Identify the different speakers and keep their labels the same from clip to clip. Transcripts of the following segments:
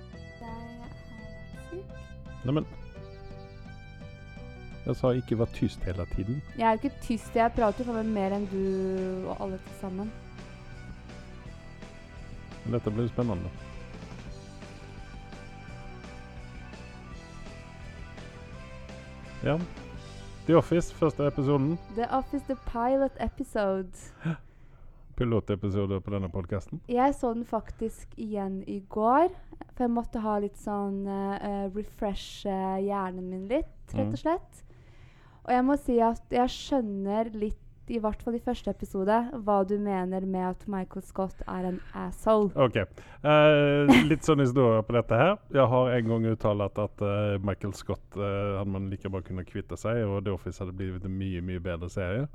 Speaker 1: jeg er syk.
Speaker 2: Neimen Jeg sa ikke vær tyst hele tiden.
Speaker 1: Jeg er jo ikke tyst, jeg prater jo faen meg mer enn du og alle til sammen.
Speaker 2: Men dette blir spennende. Ja. The Office, første episoden.
Speaker 1: The Office The Pilot Episode.
Speaker 2: Pilotepisode på denne podkasten.
Speaker 1: Jeg så den faktisk igjen i går, for jeg måtte ha litt sånn eh, eh, refresh eh, hjernen min litt, rett
Speaker 2: Mm.
Speaker 1: og slett. Og jeg må si at jeg skjønner litt, i hvert fall i første episode, hva du mener med at Michael Scott er en asshole.
Speaker 2: OK. Eh, litt sånn historie på dette her. Jeg har en gang uttalt at eh, Michael Scott eh, hadde man like bra kunnet kvitte seg, og The Office hadde blitt en mye, mye bedre serie.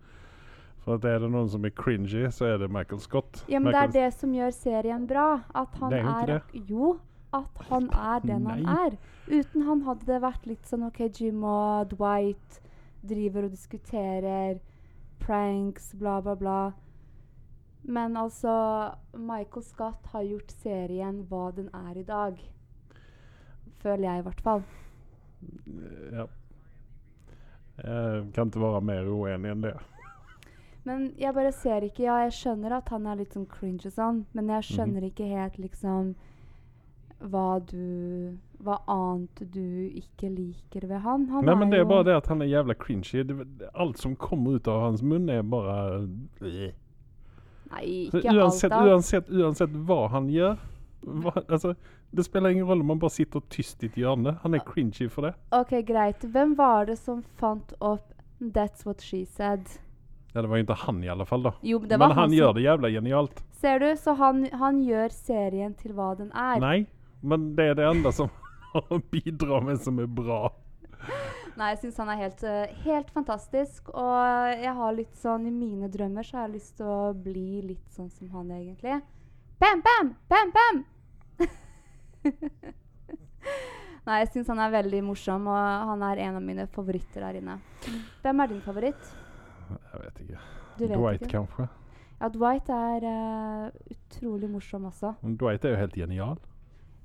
Speaker 2: For at er det noen som er cringy, så er det Michael Scott.
Speaker 1: Ja, men det
Speaker 2: Michael
Speaker 1: er det som gjør serien bra. At han
Speaker 2: Det er jo
Speaker 1: er,
Speaker 2: ikke
Speaker 1: Jo, at han er den han
Speaker 2: Nei.
Speaker 1: er. Uten han hadde det vært litt sånn OK, Jim og Dwight driver og diskuterer pranks, bla, bla, bla. Men altså Michael Scott har gjort serien hva den er i dag. Føler jeg, i hvert fall.
Speaker 2: Ja. Jeg kan ikke være mer uenig enn det.
Speaker 1: Men jeg bare ser ikke Ja, jeg skjønner at han er litt sånn cringe og sånn, men jeg
Speaker 2: Mhm.
Speaker 1: skjønner ikke helt liksom hva du Hva annet du ikke liker ved han. Han
Speaker 2: Nei, men det er
Speaker 1: jo-
Speaker 2: bare det at han er jævla cringy. Det- Alt som kommer ut av hans munn, er bare
Speaker 1: Nei,
Speaker 2: Så
Speaker 1: ikke
Speaker 2: uansett,
Speaker 1: alt, da.
Speaker 2: uansett, uansett hva han gjør hva, altså, Det spiller ingen rolle om han bare sitter tyst i et hjørne. Han er cringy for det.
Speaker 1: OK, greit. Hvem var det som fant opp 'That's What She Said'?
Speaker 2: Ja, det var jo ikke han, i alle fall. da
Speaker 1: Jo, men det
Speaker 2: Men
Speaker 1: var
Speaker 2: han,
Speaker 1: som-
Speaker 2: gjør det jævla genialt.
Speaker 1: Ser du? Så han, han gjør serien til hva den er.
Speaker 2: Nei, men det er det enda som han bidrar med som er bra.
Speaker 1: Nei, jeg syns han er helt, eh, helt fantastisk. Og jeg har litt sånn i mine drømmer så har jeg lyst til å bli litt sånn som han egentlig. Bam, bam! Bam, bam! Nei, jeg syns han er veldig morsom, og han er en av mine favoritter der inne. Hvem er din favoritt?
Speaker 2: Jeg vet ikke.
Speaker 1: Du vet
Speaker 2: Dwight,
Speaker 1: ikke.
Speaker 2: kanskje.
Speaker 1: Ja, Dwight er eh, utrolig morsom også.
Speaker 2: Men Dwight er jo helt genial.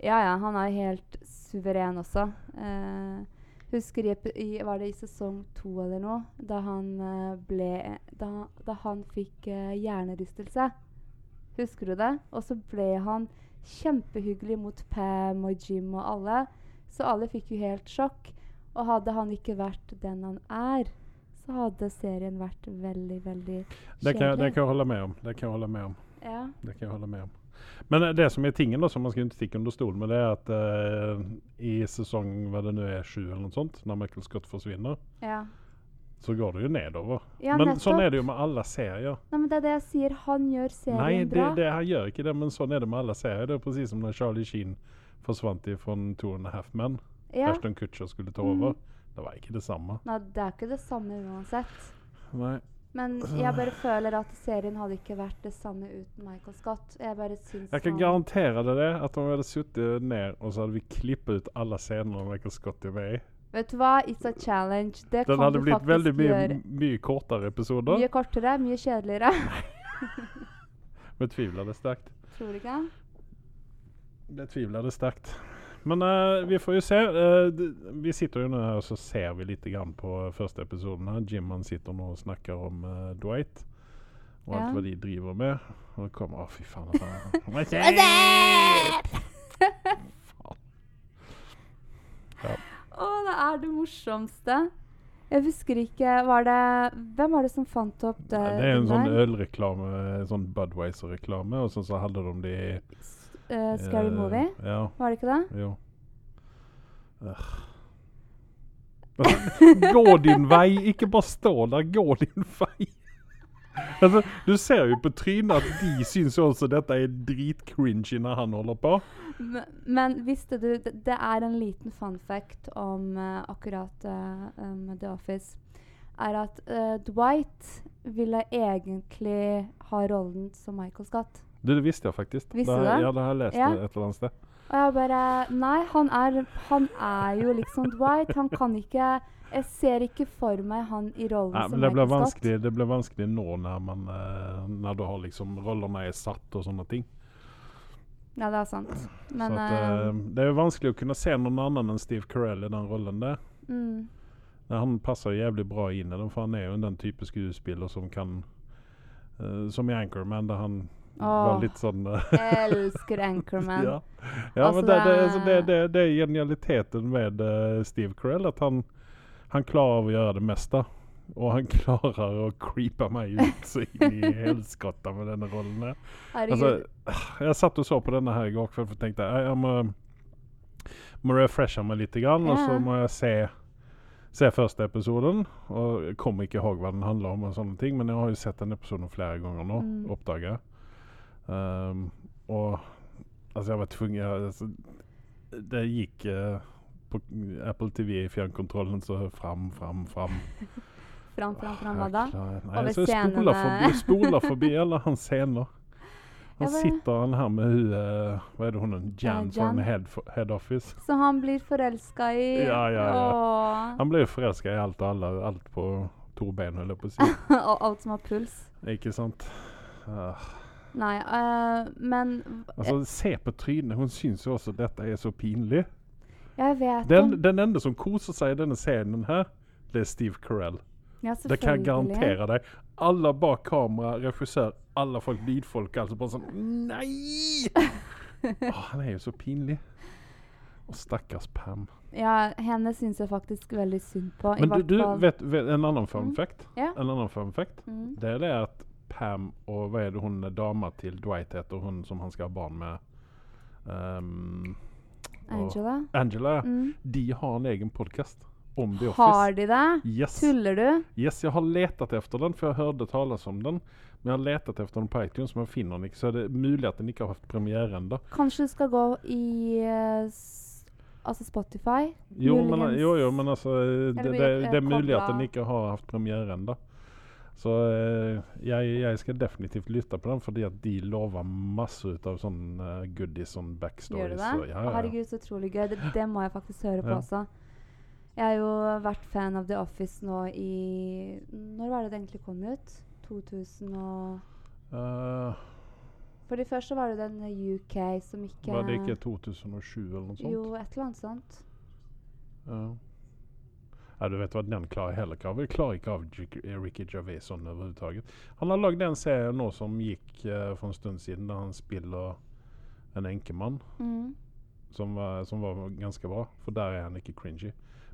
Speaker 1: Ja, ja, han er helt suveren også. Eh, husker i, epi- i, var det i sesong to eller noe, da han eh, ble Da, da han fikk eh, hjernerystelse. Husker du det? Og så ble han kjempehyggelig mot Pam og Jim og alle. Så alle fikk jo helt sjokk. Og hadde han ikke vært den han er, så hadde serien vært veldig, veldig
Speaker 2: Det kan, det
Speaker 1: kjedelig.
Speaker 2: kan jeg holde med om. Det kan jeg holde med om.
Speaker 1: Ja.
Speaker 2: Det kan jeg holde med om. Men eh, det som er tingen da, som man skal ikke stikke under stolen med, det er at eh, i sesong hva det nå er, sju eller noe sånt, når Michael Scott forsvinner,
Speaker 1: ja.
Speaker 2: så går det jo nedover.
Speaker 1: ja
Speaker 2: men sånn
Speaker 1: nettopp.
Speaker 2: er det jo med alle serier.
Speaker 1: Nei, men det er det jeg sier. Han gjør serien
Speaker 2: Nei, det,
Speaker 1: bra.
Speaker 2: det, han gjør ikke det, men sånn er det med alle serier. Det er presis som da Charlie Sheen forsvant fra Two and a Half Men.
Speaker 1: ja. Mm.
Speaker 2: Ashton Kutcher skulle ta over. Det var ikke det samme.
Speaker 1: Nei, det er ikke det samme uansett.
Speaker 2: Nei.
Speaker 1: Men jeg bare
Speaker 2: Øh.
Speaker 1: føler at serien hadde ikke vært det samme uten Michael Scott. Jeg bare syns
Speaker 2: Jeg kan
Speaker 1: han-
Speaker 2: garantere deg det, at om vi hadde sittet ned og så hadde vi klippet ut alle scenene Michael Scott er med i
Speaker 1: Vet du hva, it's a challenge. Det
Speaker 2: Den
Speaker 1: kan
Speaker 2: hadde
Speaker 1: du
Speaker 2: blitt
Speaker 1: faktisk
Speaker 2: veldig mye,
Speaker 1: gjøre.
Speaker 2: mye kortere episoder.
Speaker 1: Mye kortere, mye kjedeligere.
Speaker 2: Betviler det sterkt.
Speaker 1: Tror du ikke?
Speaker 2: Betviler det sterkt. Men eh, vi får jo se. Eh, d- vi sitter jo nå her og så ser vi litt grann på første episoden. her. Jim han sitter nå og snakker om eh, Dwight og alt
Speaker 1: Ja.
Speaker 2: hva de driver med. Og det kommer Å, fy faen. altså. at han- What's up?
Speaker 1: Å, det er det morsomste. Jeg husker ikke Var det Hvem var det som fant opp det?
Speaker 2: Nei, Det er jo en
Speaker 1: den
Speaker 2: sånn
Speaker 1: der?
Speaker 2: ølreklame, en sånn Budwiser-reklame, og sånn så hadde de de
Speaker 1: S- eh, Scary
Speaker 2: eh,
Speaker 1: Movie?
Speaker 2: Ja.
Speaker 1: Var det ikke det?
Speaker 2: Jo. gå din vei, ikke bare stå der. Gå din vei. Altså, du ser jo på trynet at de syns jo også dette er dritcringy når han holder på.
Speaker 1: Men, men visste du det, det er en liten fun fact om eh, akkurat eh, um, The Office. Er at eh, Dwight ville egentlig ha rollen som Michael Scott.
Speaker 2: Du, det visste jeg faktisk.
Speaker 1: Visste
Speaker 2: det?
Speaker 1: du
Speaker 2: har-
Speaker 1: det?
Speaker 2: Ja, det har jeg lest
Speaker 1: Ja.
Speaker 2: et eller annet sted.
Speaker 1: Og jeg bare Nei, han er, han er jo liksom Dwight. Han kan ikke Jeg ser ikke for meg han i rollen
Speaker 2: Nei,
Speaker 1: som
Speaker 2: men det blir
Speaker 1: Michael Scott.
Speaker 2: vanskelig, det blir vanskelig nå når, man, eh, når du har liksom rollene er satt og sånne ting.
Speaker 1: Ja, det er sant. Men
Speaker 2: så at, eh,
Speaker 1: eh,
Speaker 2: det er jo vanskelig å kunne se noen annen enn Steve Carell i den rollen der.
Speaker 1: mm,
Speaker 2: Nei, han passer jo jævlig bra inn i den, for han er jo den type skuespiller som kan eh, Som i Anchorman, der han var
Speaker 1: Åh.
Speaker 2: litt sånn eh,
Speaker 1: Elsker Anchorman.
Speaker 2: Ja, ja
Speaker 1: Altså,
Speaker 2: men det, det,
Speaker 1: det er-
Speaker 2: altså, det, det, det er genialiteten med eh, Steve Carell. At han, han klarer av å gjøre det meste. Og han klarer å creepe meg ut så inn i helskotta med denne rollen. her. Altså,
Speaker 1: Herregud.
Speaker 2: jeg satt og så på denne her i går kveld og tenkte jeg, jeg må, må refreshe meg litt. Grann, Og så
Speaker 1: Ja.
Speaker 2: må jeg se, se første episoden. Og jeg kommer ikke ihåg hva den handler om, og sånne ting, men jeg har jo sett den episoden flere ganger nå.
Speaker 1: Mm.
Speaker 2: Oppdaga. Um, og altså, jeg var tvunget jeg- altså, Det gikk eh, på Apple TV i fjernkontrollen, så fram, fram, fram.
Speaker 1: fram, fram, fram. Hva
Speaker 2: Jeg
Speaker 1: da?
Speaker 2: klarer- Nei,
Speaker 1: Over
Speaker 2: så jeg
Speaker 1: scenene.
Speaker 2: spoler forbi, spoler forbi alle hans scener.
Speaker 1: eh,
Speaker 2: Han
Speaker 1: Ja, hva-
Speaker 2: sitter han her med hun eh, Hva er det hun er? Jan
Speaker 1: Eh,
Speaker 2: fra
Speaker 1: Jan.
Speaker 2: head, head Office.
Speaker 1: Så han blir forelska i
Speaker 2: Ja, ja, ja.
Speaker 1: og-
Speaker 2: Han ble jo forelska i alt og alle, alt på to bein, holdt jeg på å si.
Speaker 1: og alt som har puls.
Speaker 2: Ikke sant? Ah,
Speaker 1: Nei, eh, men
Speaker 2: altså, se på trynet. Hun syns jo også dette er så pinlig.
Speaker 1: jeg vet
Speaker 2: Den,
Speaker 1: om
Speaker 2: den ende som koser seg i denne scenen her, det er Steve Carell.
Speaker 1: Ja,
Speaker 2: Det kan
Speaker 1: selvfølgelig.
Speaker 2: jeg garantere deg. Alle bak kamera, regissør, alle folk, lydfolk, altså bare sånn Nei! Åh, han er jo så pinlig. Og stakkars Pam.
Speaker 1: Ja, henne syns jeg faktisk veldig synd på. I
Speaker 2: Men du,
Speaker 1: hvert
Speaker 2: du
Speaker 1: fall.
Speaker 2: vet, vet en annen fun
Speaker 1: Mm.
Speaker 2: fact?
Speaker 1: Ja.
Speaker 2: En annen fun fact?
Speaker 1: Mm.
Speaker 2: Det er det at Pam og hva er det hun er dama til Dwight heter, hun som han skal ha barn med Ehm, og-
Speaker 1: Angela?
Speaker 2: Angela.
Speaker 1: Mm.
Speaker 2: De har en egen podkast om The Office.
Speaker 1: Har de det?
Speaker 2: Yes.
Speaker 1: Tuller du?
Speaker 2: Yes, jeg har letet efter den, for jeg hørte tales om den. Men jeg har letet efter den på iTunes, men jeg finner den ikke. Så er det mulig at den ikke har hatt premiere ennå.
Speaker 1: Kanskje du skal gå i eh, s altså Spotify?
Speaker 2: Jo, men,
Speaker 1: Muligens.
Speaker 2: jo, jo, men altså det,
Speaker 1: vi,
Speaker 2: det,
Speaker 1: eh,
Speaker 2: det er mulig at
Speaker 1: kobla-
Speaker 2: den ikke har hatt premiere ennå. Så eh, jeg, jeg skal definitivt lytte på den, fordi at de lover masse ut av sånn eh, goodies sånn
Speaker 1: Gjør du
Speaker 2: backstories.
Speaker 1: det?
Speaker 2: og- Ja,
Speaker 1: Å,
Speaker 2: ja, ja.
Speaker 1: Herregud, så utrolig gøy. Det, det må jeg faktisk høre på
Speaker 2: Ja.
Speaker 1: også. Jeg har jo vært fan av The Office nå i Når var det det egentlig kom ut? 2000 og
Speaker 2: Eh,
Speaker 1: Fordi først så var det den UK som ikke
Speaker 2: var det ikke 2007 eller noe sånt?
Speaker 1: Jo, et eller annet sånt.
Speaker 2: Ja. Ja, du vet hva, den klarer jeg heller ikke av. Jeg klarer ikke av J- Ricky Gervais sånn overhuvudtaget. Han har lagd en serie nå som gikk eh, for en stund siden, der han spiller en enkemann,
Speaker 1: Mm.
Speaker 2: som var, som var ganske bra. For der er han ikke cringy.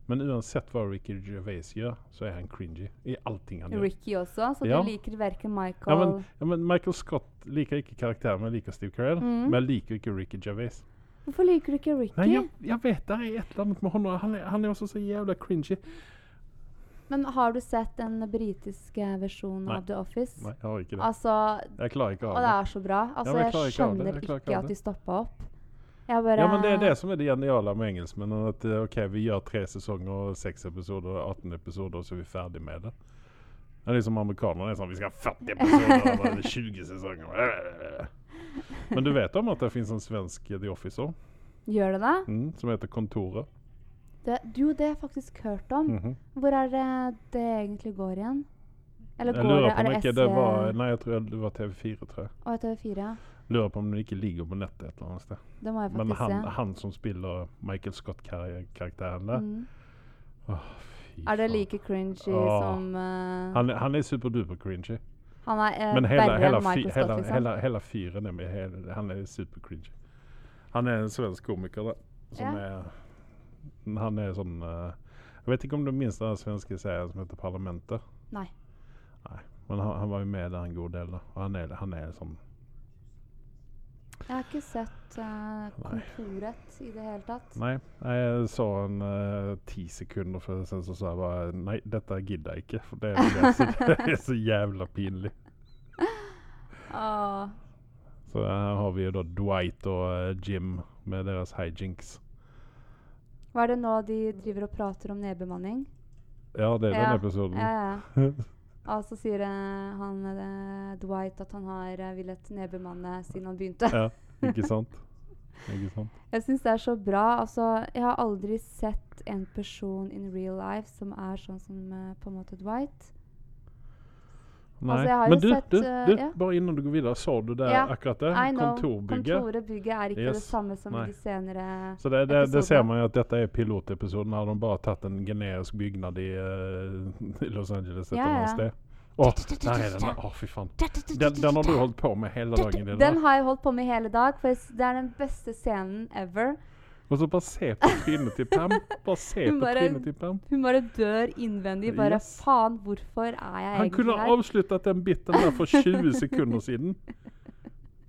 Speaker 2: Men uansett hva Ricky Gervais gjør, så er han cringy i allting han gjør.
Speaker 1: Ricky også, så
Speaker 2: Ja.
Speaker 1: du liker verken
Speaker 2: Ja
Speaker 1: Michael
Speaker 2: men, ja, men Michael Scott liker ikke karakteren, men jeg liker Steve Carell.
Speaker 1: Mm.
Speaker 2: Men jeg liker ikke Ricky Gervais.
Speaker 1: Hvorfor liker du ikke Ricky?
Speaker 2: Nei, jeg, jeg vet det er et eller annet med han. og Han er, han er også så jævla cringy.
Speaker 1: Men har du sett den britiske versjonen
Speaker 2: Nei.
Speaker 1: av The Office?
Speaker 2: Nei, jeg har ikke det.
Speaker 1: Altså,
Speaker 2: Jeg klarer ikke av
Speaker 1: Og det er så bra. Altså,
Speaker 2: men jeg
Speaker 1: jeg,
Speaker 2: klarer ikke av det.
Speaker 1: skjønner
Speaker 2: Jeg
Speaker 1: ikke,
Speaker 2: klarer ikke av
Speaker 1: at
Speaker 2: det.
Speaker 1: de stoppa opp. Jeg bare
Speaker 2: Ja, men Det er det som er det geniale med engelskmennene. At eh, OK, vi gjør tre sesonger, og seks episoder, og 18 episoder, og så er vi ferdig med det. Det er liksom amerikanerne er sånn Vi skal ha 40 episoder, og bare 20 sesonger. Men du vet om at det fins en svensk eh, The Office òg,
Speaker 1: Gjør det det?
Speaker 2: mm, som heter Kontoret.
Speaker 1: det? Jo, det har jeg faktisk hørt om.
Speaker 2: Mhm.
Speaker 1: Hvor er det det egentlig går igjen? Eller
Speaker 2: Jeg
Speaker 1: går det,
Speaker 2: lurer på
Speaker 1: er
Speaker 2: om
Speaker 1: det E? eh?
Speaker 2: ikke
Speaker 1: SE
Speaker 2: det var Nei, jeg tror det var TV4, tror jeg.
Speaker 1: og TV4? ja.
Speaker 2: Lurer på om det ikke ligger på nettet et eller annet sted.
Speaker 1: Det må jeg
Speaker 2: Men
Speaker 1: faktisk
Speaker 2: han,
Speaker 1: se.
Speaker 2: han som spiller Michael Scott-karakteren der
Speaker 1: Mm.
Speaker 2: fy
Speaker 1: Er det
Speaker 2: faen.
Speaker 1: like cringy
Speaker 2: Åh.
Speaker 1: som eh, han,
Speaker 2: han, er- han er superduper
Speaker 1: er
Speaker 2: cringy.
Speaker 1: eh,
Speaker 2: Men hela,
Speaker 1: verre
Speaker 2: hela,
Speaker 1: enn Michael
Speaker 2: fi,
Speaker 1: Scott,
Speaker 2: hela,
Speaker 1: liksom?
Speaker 2: hela, hela fyren är med. Hela, han är supercringe. Han är en svensk komiker da, som
Speaker 1: Ja.
Speaker 2: är... Han är sån... eh, jag vet inte om du minns den här svenska serien som heter Parlamentet?
Speaker 1: Nej.
Speaker 2: Nej, men han, han var ju med där en god del. Då. Och han är, han sånn- är sån...
Speaker 1: Jeg har ikke sett eh, Kontoret i det hele tatt.
Speaker 2: Nej, jag sa en eh, 10 sekunder för sen så sa jag bara nej, detta gillar jag inte. För det är, så, det är så jävla pinligt.
Speaker 1: Åh.
Speaker 2: Så här har vi ju då Dwight och eh, Jim med deras hijinks.
Speaker 1: Hva er det nå de driver og prater om nedbemanning?
Speaker 2: Ja, det är
Speaker 1: Ja,
Speaker 2: den episoden.
Speaker 1: Ja, ja. Og så sier eh, han eh, Dwight at han har eh, villet nedbemanne siden han begynte.
Speaker 2: Ja, ikke sant? Ikke sant?
Speaker 1: Jeg syns det er så bra. Altså, jeg har aldri sett en person in real life som er sånn som eh, på en måte Dwight.
Speaker 2: Nei.
Speaker 1: Altså, jeg har
Speaker 2: Men
Speaker 1: jo
Speaker 2: du,
Speaker 1: sett,
Speaker 2: du,
Speaker 1: eh,
Speaker 2: du
Speaker 1: ja.
Speaker 2: bare innan du går videre, så du der
Speaker 1: Ja,
Speaker 2: akkurat det?
Speaker 1: I know.
Speaker 2: Kontorbygget.
Speaker 1: Kontoret, bygget er ikke det
Speaker 2: Yes.
Speaker 1: samme som
Speaker 2: Nei.
Speaker 1: de senere
Speaker 2: Så det, det, det
Speaker 1: episode.
Speaker 2: ser man jo at dette er pilotepisoden. Har de bare tatt en generisk bygnad i, eh, i Los Angeles et
Speaker 1: Ja,
Speaker 2: eller
Speaker 1: ja.
Speaker 2: annet sted? Å, der er den! Å, fy faen. Den, den har du holdt på med hele dagen. i
Speaker 1: Den
Speaker 2: dag.
Speaker 1: har jeg holdt på med i hele dag, for jeg s- det er den beste scenen ever.
Speaker 2: Og så bare se på trynet til Pam. Bare se
Speaker 1: Hun
Speaker 2: på
Speaker 1: bare-
Speaker 2: trynet til Pam.
Speaker 1: Hun bare dør innvendig. Bare
Speaker 2: Yes.
Speaker 1: faen, hvorfor er jeg
Speaker 2: Han kunne
Speaker 1: egentlig her?
Speaker 2: avsluttet den biten der for 20 sekunder siden.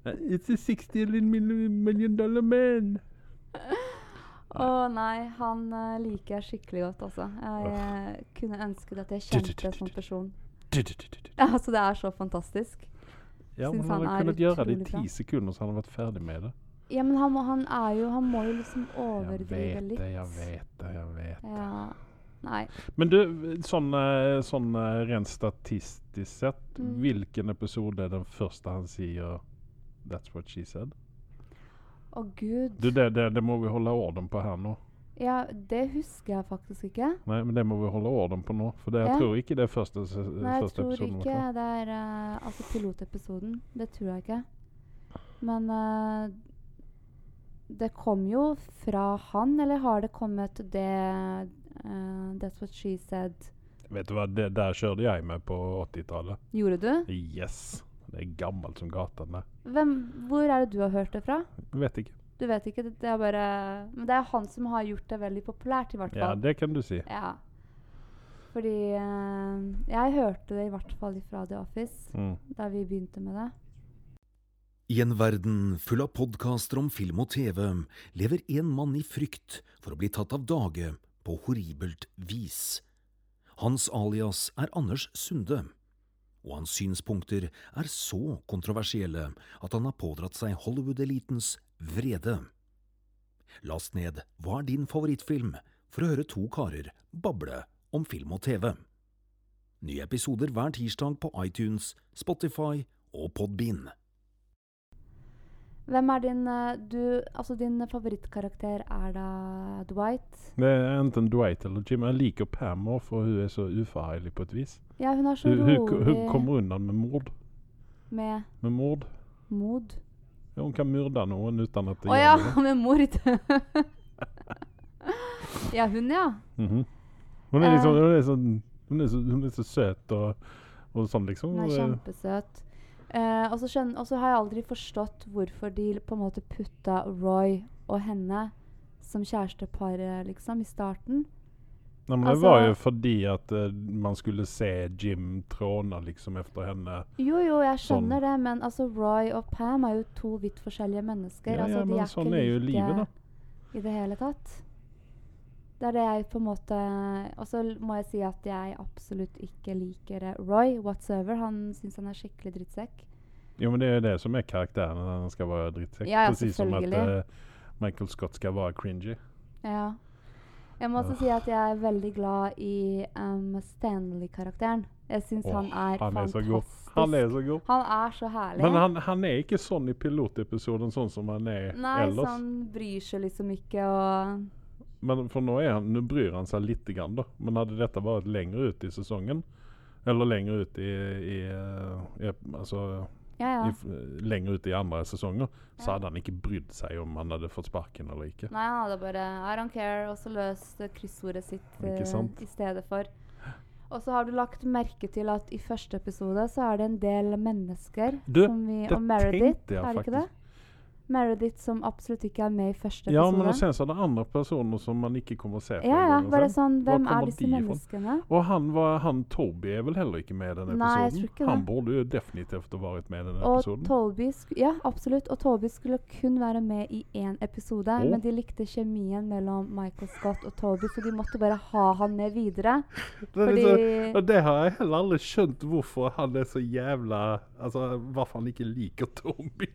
Speaker 2: Eh, It's a 60 million, million dollar man.
Speaker 1: Å nei, han eh, liker jeg skikkelig godt, altså. Jeg eh, kunne ønsket at jeg kjente en sånn person. Ja, Altså, det er så fantastisk.
Speaker 2: Ja,
Speaker 1: Synes
Speaker 2: men
Speaker 1: han
Speaker 2: han
Speaker 1: er
Speaker 2: hadde kunnet gjøre det i
Speaker 1: utrolig bra.
Speaker 2: ti sekunder, så han hadde vært ferdig med det.
Speaker 1: Ja, men han må, han er jo Han må jo liksom
Speaker 2: Jeg
Speaker 1: overdrive
Speaker 2: vet
Speaker 1: litt.
Speaker 2: det, jeg vet det, jeg vet det.
Speaker 1: Ja. Nei.
Speaker 2: Men du, sånn, eh, sånn eh, rent statistisk sett,
Speaker 1: Mm.
Speaker 2: hvilken episode er den første han sier 'That's what she said'?
Speaker 1: Å gud.
Speaker 2: Du, det, det, det må vi holde orden på her nå.
Speaker 1: Ja, det husker jeg faktisk ikke.
Speaker 2: Nei, men det må vi holde orden på nå. For det, jeg
Speaker 1: Ja.
Speaker 2: tror ikke det er første, se-
Speaker 1: Nei, jeg
Speaker 2: første
Speaker 1: tror
Speaker 2: episoden.
Speaker 1: ikke det er eh, Altså pilotepisoden. Det tror jeg ikke. Men eh, det kom jo fra han, eller har det kommet det eh, That's what she said.
Speaker 2: Vet du hva, det der kjørte jeg med på 80-tallet.
Speaker 1: Gjorde du?
Speaker 2: Yes! Det er gammelt som gatan, det.
Speaker 1: Hvem, hvor er det du har hørt det fra?
Speaker 2: Vet ikke.
Speaker 1: Du vet ikke. Det det er bare Men det er han som har gjort det veldig populært, i hvert
Speaker 2: Ja,
Speaker 1: fall.
Speaker 2: det kan du si.
Speaker 1: Ja. Fordi eh, Jeg hørte det i hvert fall fra The Office,
Speaker 2: Mm.
Speaker 1: da vi begynte med det.
Speaker 3: I en verden full av podkaster om film og TV lever en mann i frykt for å bli tatt av dage på horribelt vis. Hans alias er Anders Sunde, og hans synspunkter er så kontroversielle at han har pådratt seg Hollywood-elitens vrede. Last ned Hva er din favorittfilm? for å høre to karer bable om film og TV. Nye episoder hver tirsdag på iTunes, Spotify og Podbean.
Speaker 1: Hvem er din eh, du, Altså din favorittkarakter er da Dwight?
Speaker 2: Det er enten Dwight eller Jim. Jeg liker Pam òg, for hun er så ufarlig på et vis.
Speaker 1: Ja, hun er så
Speaker 2: Hun, hun, hun
Speaker 1: rolig
Speaker 2: kommer unna med mord.
Speaker 1: med
Speaker 2: Med mord.
Speaker 1: mod.
Speaker 2: Ja, hun kan myrde noen uten at det
Speaker 1: Å ja,
Speaker 2: noe.
Speaker 1: med mord! ja, hun, ja.
Speaker 2: Mhm. Hun er liksom
Speaker 1: Eh.
Speaker 2: Hun er så, hun er så, hun er så søt og, og sånn, liksom.
Speaker 1: Hun er
Speaker 2: Eh,
Speaker 1: kjempesøt. Eh, og så skjønn- og så har jeg aldri forstått hvorfor de på en måte putta Roy og henne som kjærestepar, eh, liksom, i starten.
Speaker 2: Nei, men det
Speaker 1: altså-
Speaker 2: var jo fordi at eh, man skulle se Jim tråne liksom efter henne.
Speaker 1: Jo, jo, jeg skjønner
Speaker 2: Sånn.
Speaker 1: det, men altså Roy og Pam er jo to vidt forskjellige mennesker.
Speaker 2: Ja,
Speaker 1: altså, de
Speaker 2: ja, men
Speaker 1: er
Speaker 2: sånn
Speaker 1: ikke
Speaker 2: er jo
Speaker 1: like
Speaker 2: livet, da.
Speaker 1: I det hele tatt. Det er det jeg på en måte Og så l- må jeg si at jeg absolutt ikke liker eh, Roy whatsoever. Han syns han er skikkelig drittsekk.
Speaker 2: Jo, men det er jo det som er karakteren. at Han skal være drittsekk.
Speaker 1: Ja, ja,
Speaker 2: Precis som at
Speaker 1: selvfølgelig.
Speaker 2: eh, Michael Scott skal være cringy.
Speaker 1: Ja. Jeg må også si at jeg er veldig glad i em, Stanley-karakteren. Jeg syns
Speaker 2: Åh,
Speaker 1: han er
Speaker 2: han er så
Speaker 1: fantastisk.
Speaker 2: god. Han er så god.
Speaker 1: Han er så herlig.
Speaker 2: Men han, han er ikke sånn i pilotepisoden, sånn som han er
Speaker 1: Nei, sånn-
Speaker 2: ellers.
Speaker 1: så han bryr seg liksom ikke og
Speaker 2: Men for nå, er han, nå bryr han seg litt, grann, da. Men hadde dette vært lenger ut i sesongen, eller lenger ut i, i, eh, i Altså
Speaker 1: Ja, ja.
Speaker 2: i, f- lenger ut i andre sesonger, så
Speaker 1: Ja.
Speaker 2: hadde han ikke brydd seg om han hadde fått sparken eller ikke.
Speaker 1: Nei, han hadde bare I don't care, og så løst eh, kryssordet sitt
Speaker 2: Ikke
Speaker 1: eh,
Speaker 2: sant?
Speaker 1: i stedet for. Og så har du lagt merke til at i første episode så er det en del mennesker
Speaker 2: Du,
Speaker 1: som vi,
Speaker 2: det
Speaker 1: Og Meredith,
Speaker 2: tenkte jeg
Speaker 1: er det ikke det?
Speaker 2: faktisk.
Speaker 1: Meredith som absolutt ikke er med i første
Speaker 2: Ja, men
Speaker 1: episode.
Speaker 2: og sen så er det andre personer som man ikke kommer å se flere
Speaker 1: ja, ja,
Speaker 2: ganger
Speaker 1: bare
Speaker 2: sen.
Speaker 1: sånn
Speaker 2: Hvor
Speaker 1: Hvem
Speaker 2: altså. kommer
Speaker 1: er disse
Speaker 2: de ifra?
Speaker 1: menneskene?
Speaker 2: Og han, var, han Toby er vel heller ikke med i den episoden?
Speaker 1: Nei, jeg tror ikke
Speaker 2: Han
Speaker 1: det.
Speaker 2: burde jo definitivt ha vært med i den
Speaker 1: Og
Speaker 2: episoden.
Speaker 1: Tolby sk ja, absolutt. Og Tolby skulle kun være med i én episode,
Speaker 2: Å.
Speaker 1: men de likte kjemien mellom Michael Scott og Tolby, så de måtte bare ha han med videre.
Speaker 2: Det er
Speaker 1: Fordi
Speaker 2: liksom- og det har jeg heller aldri skjønt hvorfor han er så jævla Altså hvorfor han ikke liker Tommy.
Speaker 1: Jeg-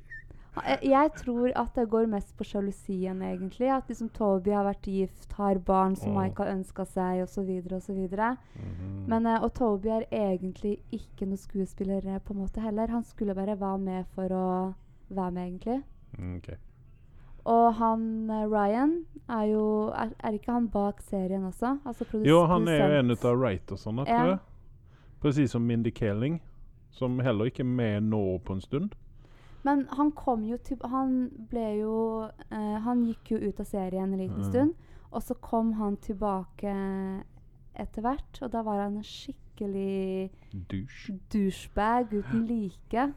Speaker 1: Eh, Jeg tror at det går mest på sjalusien, egentlig. At liksom Toby har vært gift, har barn som
Speaker 2: Mm.
Speaker 1: Mike har ønska seg, osv. osv.
Speaker 2: Mhm.
Speaker 1: Men eh, Og Toby er egentlig ikke noen skuespiller eh, på en måte heller. Han skulle bare være med for å være med, egentlig.
Speaker 2: Mm,
Speaker 1: Og han eh, Ryan er jo Er, er ikke han bak serien også? Altså produs-
Speaker 2: Jo, han er jo en
Speaker 1: produsent.
Speaker 2: av writersene,
Speaker 1: Ja.
Speaker 2: tror jeg. Precis som Mindy Kaling. Som heller ikke er med nå på en stund.
Speaker 1: Men han kom jo til Han ble jo eh, Han gikk jo ut av serien en liten
Speaker 2: Ja.
Speaker 1: stund. Og så kom han tilbake etter hvert, og da var han en skikkelig
Speaker 2: Douche.
Speaker 1: douchebag uten like.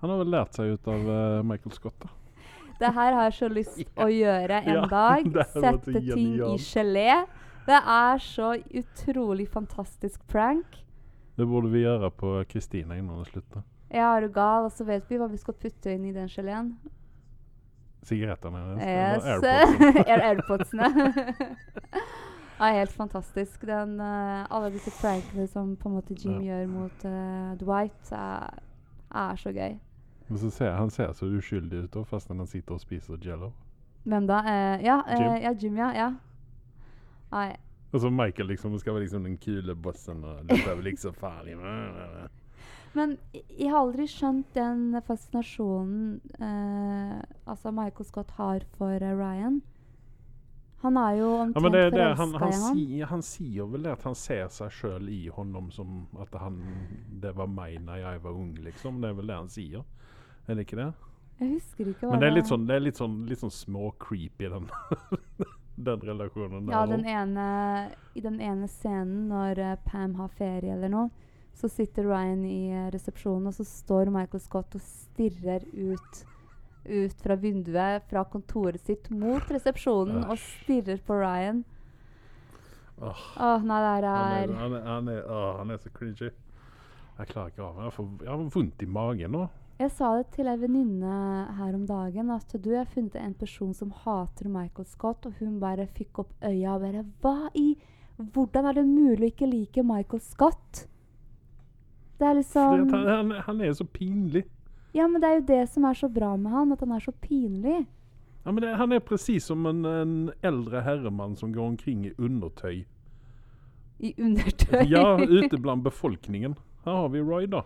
Speaker 2: Han har vel lært seg ut av eh, Michael Scott, da.
Speaker 1: Det her har jeg så lyst å gjøre en
Speaker 2: Ja,
Speaker 1: dag.
Speaker 2: det her var så
Speaker 1: Sette ting i
Speaker 2: genialt.
Speaker 1: gelé. Det er så utrolig fantastisk prank.
Speaker 2: Det burde vi gjøre på Kristine innan det slutter.
Speaker 1: Ja, er du gal? Og så vet vi hva vi skal putte inn i den geleen.
Speaker 2: Sigarettene hennes.
Speaker 1: Yes.
Speaker 2: det var AirPods.
Speaker 1: Air- Airpodsene. ja, helt fantastisk. Den, eh, alle disse prankene som på en måte Jim gjør mot eh, Dwight, er, er så gøy.
Speaker 2: Men så ser, han ser så uskyldig ut, da, fast han sitter og spiser Jello.
Speaker 1: Hvem da? Eh, ja, eh,
Speaker 2: Jim.
Speaker 1: ja, Jim, ja. ja. Nei,
Speaker 2: Og så Michael liksom skal være liksom den kule bossen og dette er vel ikke så liksom farlig.
Speaker 1: Men jeg- jeg har aldri skjønt den fascinasjonen eh, altså Michael Scott har for eh, Ryan. Han er jo
Speaker 2: Ja, men det,
Speaker 1: omtrent
Speaker 2: det,
Speaker 1: forelska
Speaker 2: han, han,
Speaker 1: i han.
Speaker 2: sier, han sier vel det at han ser seg sjøl i honom som at han Det var meg da jeg var ung, liksom. Det er vel det han sier. Er det ikke det?
Speaker 1: Jeg husker ikke hva
Speaker 2: Men det er litt sånn, det er litt sånn, litt sånn små-creepy, den, den relasjonen.
Speaker 1: Ja,
Speaker 2: der
Speaker 1: den
Speaker 2: også.
Speaker 1: ene, I den ene scenen når eh, Pam har ferie eller noe, så sitter Ryan i eh, resepsjonen, og så står Michael Scott og stirrer ut ut fra vinduet fra kontoret sitt mot resepsjonen og stirrer på Ryan. Åh,
Speaker 2: Åh.
Speaker 1: nei, det her
Speaker 2: han,
Speaker 1: er
Speaker 2: er, han, er, han, er, å, han er så cringy. Jeg klarer ikke av det. Jeg får- Jeg har vondt i magen nå.
Speaker 1: Jeg sa det til ei venninne her om dagen at du, jeg har funnet en person som hater Michael Scott, og hun bare fikk opp øya og bare Hva i Hvordan er det mulig å ikke like Michael Scott? Det er
Speaker 2: Fordi
Speaker 1: liksom
Speaker 2: at han, han, han er så pinlig.
Speaker 1: Ja, men det er jo det som er så bra med han, at han er så pinlig.
Speaker 2: Ja, men det, han er presis som en, en eldre herremann som går omkring i undertøy. Altså,
Speaker 1: I undertøy.
Speaker 2: Ja, ute blant befolkningen. Her har vi Roy, da.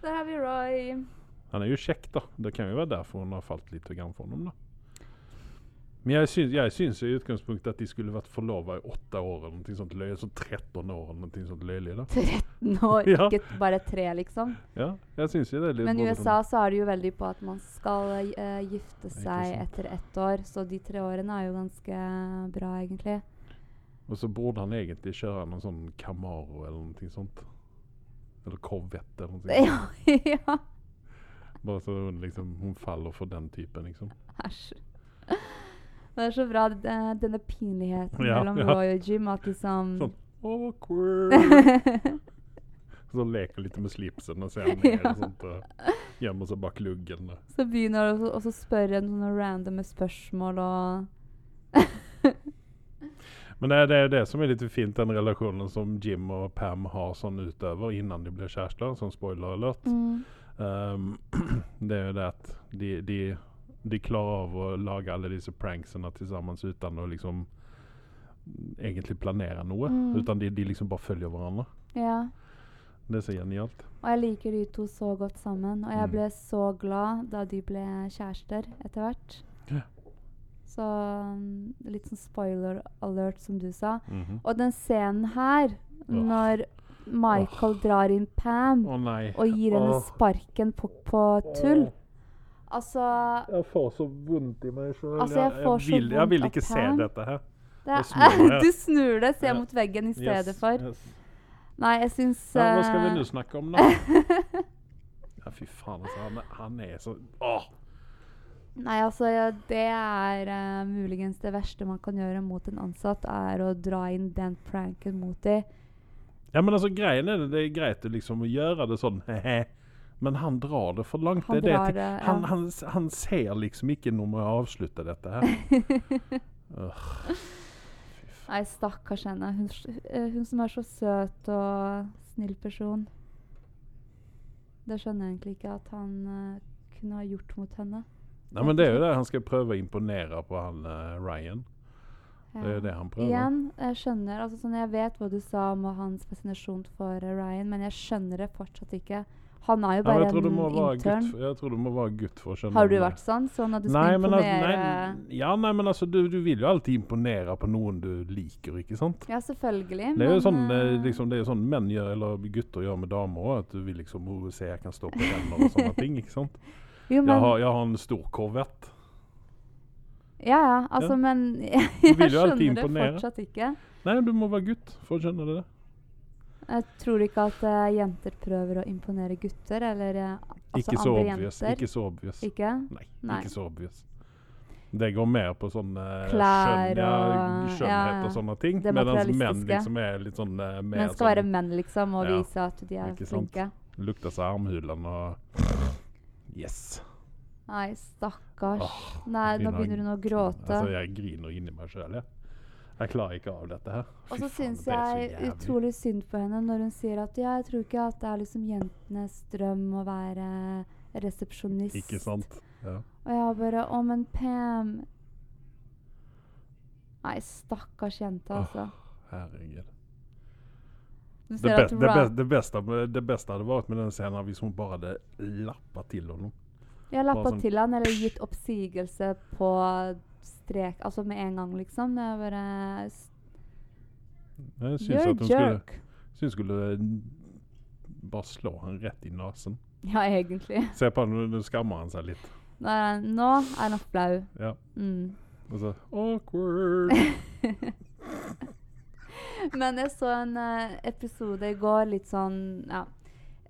Speaker 1: Der har vi Roy.
Speaker 2: Han er jo kjekk, da. Det kan jo være derfor hun har falt litt grann for ham, da. Men jeg syns, jeg syns i utgangspunktet at de skulle vært forlova i åtte år eller noe sånt løye. Så 13 år eller noe sånt løyelig, da.
Speaker 1: 13 år,
Speaker 2: Ja.
Speaker 1: ikke bare tre, liksom.
Speaker 2: Ja, jeg synes jo det er litt
Speaker 1: Men i
Speaker 2: både
Speaker 1: USA så er det jo veldig på at man skal eh, gifte seg
Speaker 2: sant.
Speaker 1: etter ett år, så de tre årene er jo ganske bra, egentlig.
Speaker 2: sånn- Og så burde han egentlig kjøre noen sånn Camaro eller noe sånt. Eller Corvette eller noe sånt.
Speaker 1: Ja, ja.
Speaker 2: Bare så hun liksom Hun faller for den typen, liksom.
Speaker 1: Æsj. Det er så bra, d- eh, denne pinligheten
Speaker 2: Ja,
Speaker 1: mellom
Speaker 2: ja.
Speaker 1: Roy og Jim. At liksom
Speaker 2: Sånn. Awkward! så leker litt med slipsen og ser ned
Speaker 1: Ja.
Speaker 2: og sånt. Og gjemmer seg bak luggen. da.
Speaker 1: Så begynner du å å så spørre en sånne randome spørsmål og
Speaker 2: Men det, det er det som er litt fint, den relasjonen som Jim og Pam har sånn utover innan de blir kjærester, sånn spoiler alert. Um, det er jo det at de, de, de klarer av å lage alle disse pranksene sammen uten å liksom egentlig planere noe.
Speaker 1: Mm.
Speaker 2: Utan de, de liksom bare følger hverandre.
Speaker 1: Ja.
Speaker 2: Det er så genialt.
Speaker 1: Og jeg liker de to så godt sammen. Og jeg
Speaker 2: Mm.
Speaker 1: ble så glad da de ble kjærester etter hvert.
Speaker 2: Ja.
Speaker 1: Så mm, litt sånn spoiler alert, som du sa.
Speaker 2: Mhm.
Speaker 1: Og den scenen her, når Michael drar inn Pam
Speaker 2: Å nei.
Speaker 1: og gir henne
Speaker 2: Åh.
Speaker 1: sparken på, på tull. Altså
Speaker 2: Jeg får så vondt i meg sjøl.
Speaker 1: Altså, jeg får så
Speaker 2: vil, jeg
Speaker 1: vondt
Speaker 2: vil
Speaker 1: av
Speaker 2: ikke se
Speaker 1: Pam.
Speaker 2: dette her.
Speaker 1: det
Speaker 2: Jeg snur
Speaker 1: er,
Speaker 2: meg.
Speaker 1: Du snur deg, ser
Speaker 2: Ja.
Speaker 1: mot veggen i stedet
Speaker 2: Yes,
Speaker 1: for.
Speaker 2: yes.
Speaker 1: Nei, jeg syns
Speaker 2: Ja, hva skal vi
Speaker 1: eh,
Speaker 2: nå snakke om, da? Ja, fy faen, altså. Han, er- han er så Åh!
Speaker 1: Nei, altså, ja, det er eh, muligens det verste man kan gjøre mot en ansatt, er å dra inn den pranken mot dem.
Speaker 2: Ja, men altså, greien er det, det er greit å liksom å gjøre det sånn he-he, men han drar det for langt.
Speaker 1: Han
Speaker 2: det, er
Speaker 1: drar
Speaker 2: jeg
Speaker 1: det,
Speaker 2: tenker.
Speaker 1: ja.
Speaker 2: han, han, han ser liksom ikke Nå må jeg avslutte dette her. Ugh.
Speaker 1: Nei, stakkars henne. Hun, s- eh, hun som er så søt og snill person. Det skjønner jeg egentlig ikke at han eh, kunne ha gjort mot henne.
Speaker 2: Nei, men det er jo det han skal prøve å imponere på han eh, Ryan. Det er jo det han prøver.
Speaker 1: Igjen, jeg skjønner altså sånn, Jeg vet hva du sa om hans fascinasjon for eh, Ryan, men jeg skjønner det fortsatt ikke. Han er jo
Speaker 2: Nei, men
Speaker 1: bare
Speaker 2: jeg, tror du
Speaker 1: en
Speaker 2: må være gutt,
Speaker 1: intern.
Speaker 2: jeg tror du må være gutt for å skjønne
Speaker 1: Har du
Speaker 2: om det.
Speaker 1: vært sånn? Sånn at du
Speaker 2: Nei,
Speaker 1: skal
Speaker 2: men al-
Speaker 1: imponere
Speaker 2: nei, ja, nei, men altså, du, du vil jo alltid imponere på noen du liker, ikke sant?
Speaker 1: Ja, selvfølgelig.
Speaker 2: Det er jo
Speaker 1: men,
Speaker 2: sånn, eh,
Speaker 1: eh,
Speaker 2: liksom, det er jo sånn menn gjør, eller gutter gjør med damer òg. At du vil liksom oh, se jeg kan stå på renner og sånne ting. ikke sant?
Speaker 1: Jo, men
Speaker 2: Jeg har, jeg har en stor korvett.
Speaker 1: Ja, ja. Altså,
Speaker 2: Ja.
Speaker 1: men jeg,
Speaker 2: Du vil jo alltid
Speaker 1: skjønner det
Speaker 2: imponere.
Speaker 1: fortsatt ikke.
Speaker 2: Nei, du må være gutt for å skjønne det.
Speaker 1: Jeg tror ikke at eh, jenter prøver å imponere gutter, eller eh, altså
Speaker 2: ikke så
Speaker 1: andre
Speaker 2: obvious.
Speaker 1: jenter.
Speaker 2: Ikke så obvious.
Speaker 1: Ikke?
Speaker 2: Nei,
Speaker 1: Nei.
Speaker 2: ikke så obvious. Det går mer på sånne
Speaker 1: Klær
Speaker 2: skjønn, ja,
Speaker 1: og-
Speaker 2: skjønnhet
Speaker 1: ja, ja.
Speaker 2: og sånne ting.
Speaker 1: Det
Speaker 2: Mens menn
Speaker 1: materialistiske.
Speaker 2: liksom er litt sånn eh, mer
Speaker 1: Men skal være
Speaker 2: sånn
Speaker 1: menn, liksom, og
Speaker 2: Ja.
Speaker 1: vise at de er
Speaker 2: Ikke sant?
Speaker 1: flinke.
Speaker 2: Lukter seg armhulene og Yes.
Speaker 1: Nei, stakkars.
Speaker 2: Åh,
Speaker 1: Nei, nå
Speaker 2: jeg-
Speaker 1: begynner hun å gråte.
Speaker 2: Altså, jeg griner inni meg sjøl, jeg. Jeg klarer ikke av dette her. Fy
Speaker 1: Og så
Speaker 2: faen,
Speaker 1: syns
Speaker 2: det er så
Speaker 1: jeg
Speaker 2: jævlig.
Speaker 1: utrolig synd på henne når hun sier at ja, jeg tror ikke at det er liksom jentenes drøm å være resepsjonist.
Speaker 2: Ikke sant? Ja.
Speaker 1: Og jeg bare Å, men Pam Nei, stakkars jente,
Speaker 2: Åh,
Speaker 1: altså.
Speaker 2: Herregud.
Speaker 1: Du
Speaker 2: Det,
Speaker 1: ser at
Speaker 2: be det,
Speaker 1: Ra
Speaker 2: be det, beste, det beste hadde vært med den scenen hvis hun bare hadde lappa til honom.
Speaker 1: Jeg lappa
Speaker 2: sånn-
Speaker 1: til han, eller gitt oppsigelse på strek Altså med en gang, liksom. Jeg bare s-
Speaker 2: Jeg syns
Speaker 1: You're
Speaker 2: at
Speaker 1: a
Speaker 2: hun skulle,
Speaker 1: jerk.
Speaker 2: syns skulle eh, bare slå han rett i nesen.
Speaker 1: Ja, egentlig.
Speaker 2: Se på han, nå skammer han seg litt.
Speaker 1: Nå er han- nå er han flau.
Speaker 2: Ja.
Speaker 1: Mm.
Speaker 2: Og så Awkward!
Speaker 1: Men jeg så en eh, episode i går, litt sånn ja,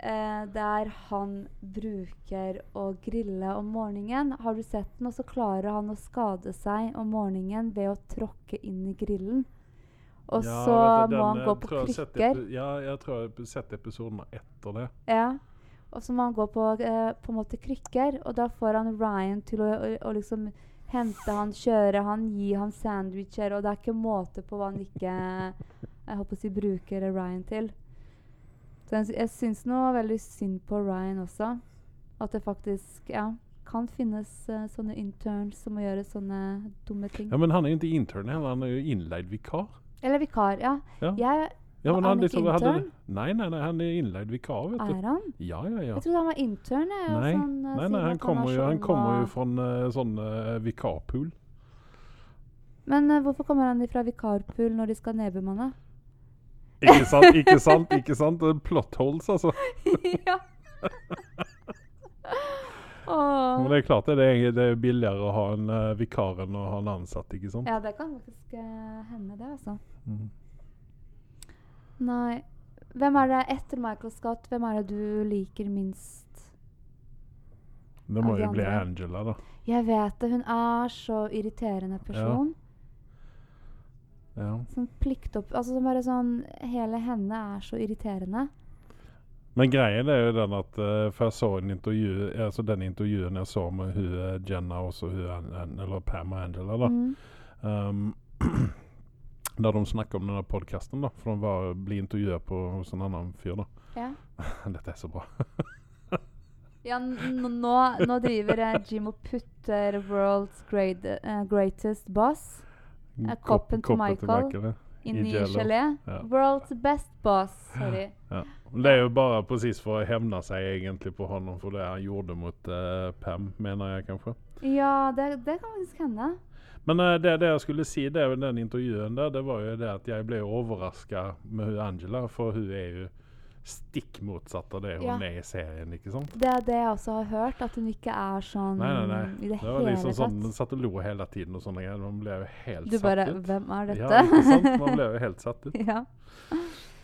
Speaker 1: eh, Der han bruker å grille om morgenen. Har du sett den? Og så klarer han å skade seg om morgenen ved å tråkke inn i grillen. Og
Speaker 2: Ja,
Speaker 1: så
Speaker 2: vet du, den,
Speaker 1: må han
Speaker 2: eh,
Speaker 1: gå
Speaker 2: tror
Speaker 1: på
Speaker 2: jeg har sett
Speaker 1: krykker.
Speaker 2: epi- Ja, jeg tror jeg har sett episoden etter det.
Speaker 1: Ja. Og så må han gå på, eh, på en måte krykker, og da får han Ryan til å, å, å liksom hente han, kjøre han, gi han sandwicher, og det er ikke måte på hva han ikke eh, jeg håper å si bruker Ryan til. Så jeg, sy- jeg syns noe veldig synd på Ryan også. At det faktisk ja, kan finnes eh, sånne interns som må gjøre sånne dumme ting.
Speaker 2: Ja, Men han er jo ikke intern heller, han er jo innleid vikar.
Speaker 1: Eller vikar, ja.
Speaker 2: Ja.
Speaker 1: Jeg,
Speaker 2: Ja, liksom,
Speaker 1: Er han ikke intern?
Speaker 2: nei, nei, nei, han er innleid vikar, vet
Speaker 1: er
Speaker 2: du.
Speaker 1: han?
Speaker 2: Ja, ja, ja.
Speaker 1: Jeg trodde han var intern. Jeg, og
Speaker 2: Nei,
Speaker 1: sånn, eh,
Speaker 2: Nei,
Speaker 1: siden
Speaker 2: nei,
Speaker 1: at
Speaker 2: han kommer
Speaker 1: var
Speaker 2: jo,
Speaker 1: så
Speaker 2: han
Speaker 1: ung
Speaker 2: kommer
Speaker 1: og-
Speaker 2: jo fra en eh, sånn eh, vikarpool.
Speaker 1: Men eh, hvorfor kommer han ifra vikarpool når de skal nedbemanne?
Speaker 2: Ikke sant, ikke sant? ikke sant? Eh, Plot holes, altså.
Speaker 1: ja.
Speaker 2: Men
Speaker 1: Åh.
Speaker 2: det er klart det, det er, det er billigere å ha en eh, vikar enn å ha en ansatt, ikke sant?
Speaker 1: Ja, det kan faktisk eh, hende, det, altså.
Speaker 2: Mm.
Speaker 1: Nei. Hvem er det etter Michael Scott, hvem er det du liker minst?
Speaker 2: Det må
Speaker 1: Ja, de
Speaker 2: jo bli
Speaker 1: andre.
Speaker 2: Angela, da.
Speaker 1: Jeg vet det, hun er så irriterende person.
Speaker 2: Ja.
Speaker 1: Som pliktopp... Altså som bare sånn Hele henne er så irriterende.
Speaker 2: Men greien er jo den at eh, For jeg så en intervju, altså den intervjuen jeg så med hun eh, Jenna og så hun An- An- eller Pam og Angela, da.
Speaker 1: Mm.
Speaker 2: Um, der de snakker om denne podkasten, da. For de var, ble intervjuet på hos en annen fyr, da.
Speaker 1: Ja.
Speaker 2: Dette er så bra.
Speaker 1: Ja, n n- nå, nå driver eh, Jim og putter World's great, eh, Greatest Boss Eh, koppen til Michael.
Speaker 2: ja.
Speaker 1: inn i
Speaker 2: I Jello.
Speaker 1: gelé.
Speaker 2: Ja.
Speaker 1: World's Best Boss. Sorry.
Speaker 2: Det er jo bare precis for å hevne seg egentlig på honom for det han gjorde mot eh, Pam, mener jeg kanskje.
Speaker 1: Ja, det, det kan faktisk hende.
Speaker 2: Men eh, det, det jeg skulle si det med den intervjuen der, det var jo det at jeg ble overraska med hun Angela, for hun er jo stikk motsatt av det hun
Speaker 1: Ja.
Speaker 2: er i serien, ikke sant?
Speaker 1: Det er det jeg også har hørt, at hun ikke er sånn
Speaker 2: Nei, nei, nei.
Speaker 1: i det,
Speaker 2: Det var
Speaker 1: hele
Speaker 2: liksom sånn,
Speaker 1: tatt.
Speaker 2: Hun satt og lo hele tiden og sånne greier. Man ble jo helt
Speaker 1: Du
Speaker 2: satt
Speaker 1: bare
Speaker 2: ut.
Speaker 1: Hvem er
Speaker 2: Ja,
Speaker 1: dette?
Speaker 2: ikke sant? Man ble jo helt satt ut.
Speaker 1: Ja.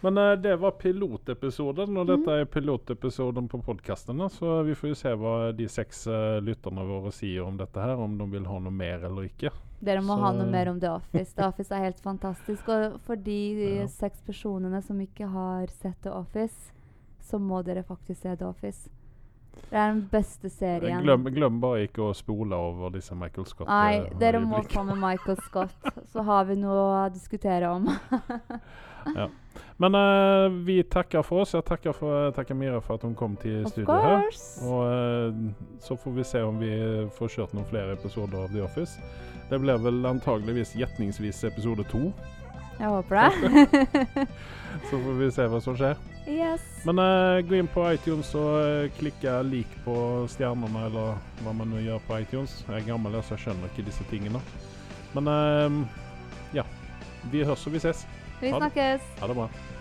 Speaker 2: Men eh, det var pilotepisoden, og
Speaker 1: Mm.
Speaker 2: dette er pilotepisoden på podkasten. Så vi får jo se hva de seks eh, lytterne våre sier om dette her, om de vil ha noe mer eller ikke.
Speaker 1: Dere må
Speaker 2: Så- eh,
Speaker 1: ha noe mer om The Office. The Office er helt fantastisk. Og for de
Speaker 2: Ja.
Speaker 1: seks personene som ikke har sett The Office, så må dere faktisk se The Office. Det er den beste serien.
Speaker 2: Glem, glem bare ikke å spole over disse Michael Scott.
Speaker 1: Nei,
Speaker 2: eh,
Speaker 1: dere må
Speaker 2: øyeblikk.
Speaker 1: få med Michael Scott, så har vi noe å diskutere om.
Speaker 2: Men eh, vi takker for oss. Jeg takker, for, takker Mira for at hun kom til
Speaker 1: Of
Speaker 2: studio her.
Speaker 1: course!
Speaker 2: Og eh, så får vi se om vi får kjørt noen flere episoder av The Office. Det blir vel antageligvis gjetningsvis episode to.
Speaker 1: Jeg håper det.
Speaker 2: Så får vi se hva som skjer.
Speaker 1: Yes.
Speaker 2: Men eh, gå in på iTunes och eh, klicka lik på stjärnorna eller vad man nu gör på iTunes. Jag är gammal så jag känner inte dessa tingen. Men ehm, eh, ja, vi hörs och vi ses.
Speaker 1: Vi
Speaker 2: Ha det.
Speaker 1: snakkes.
Speaker 2: Ha det bra.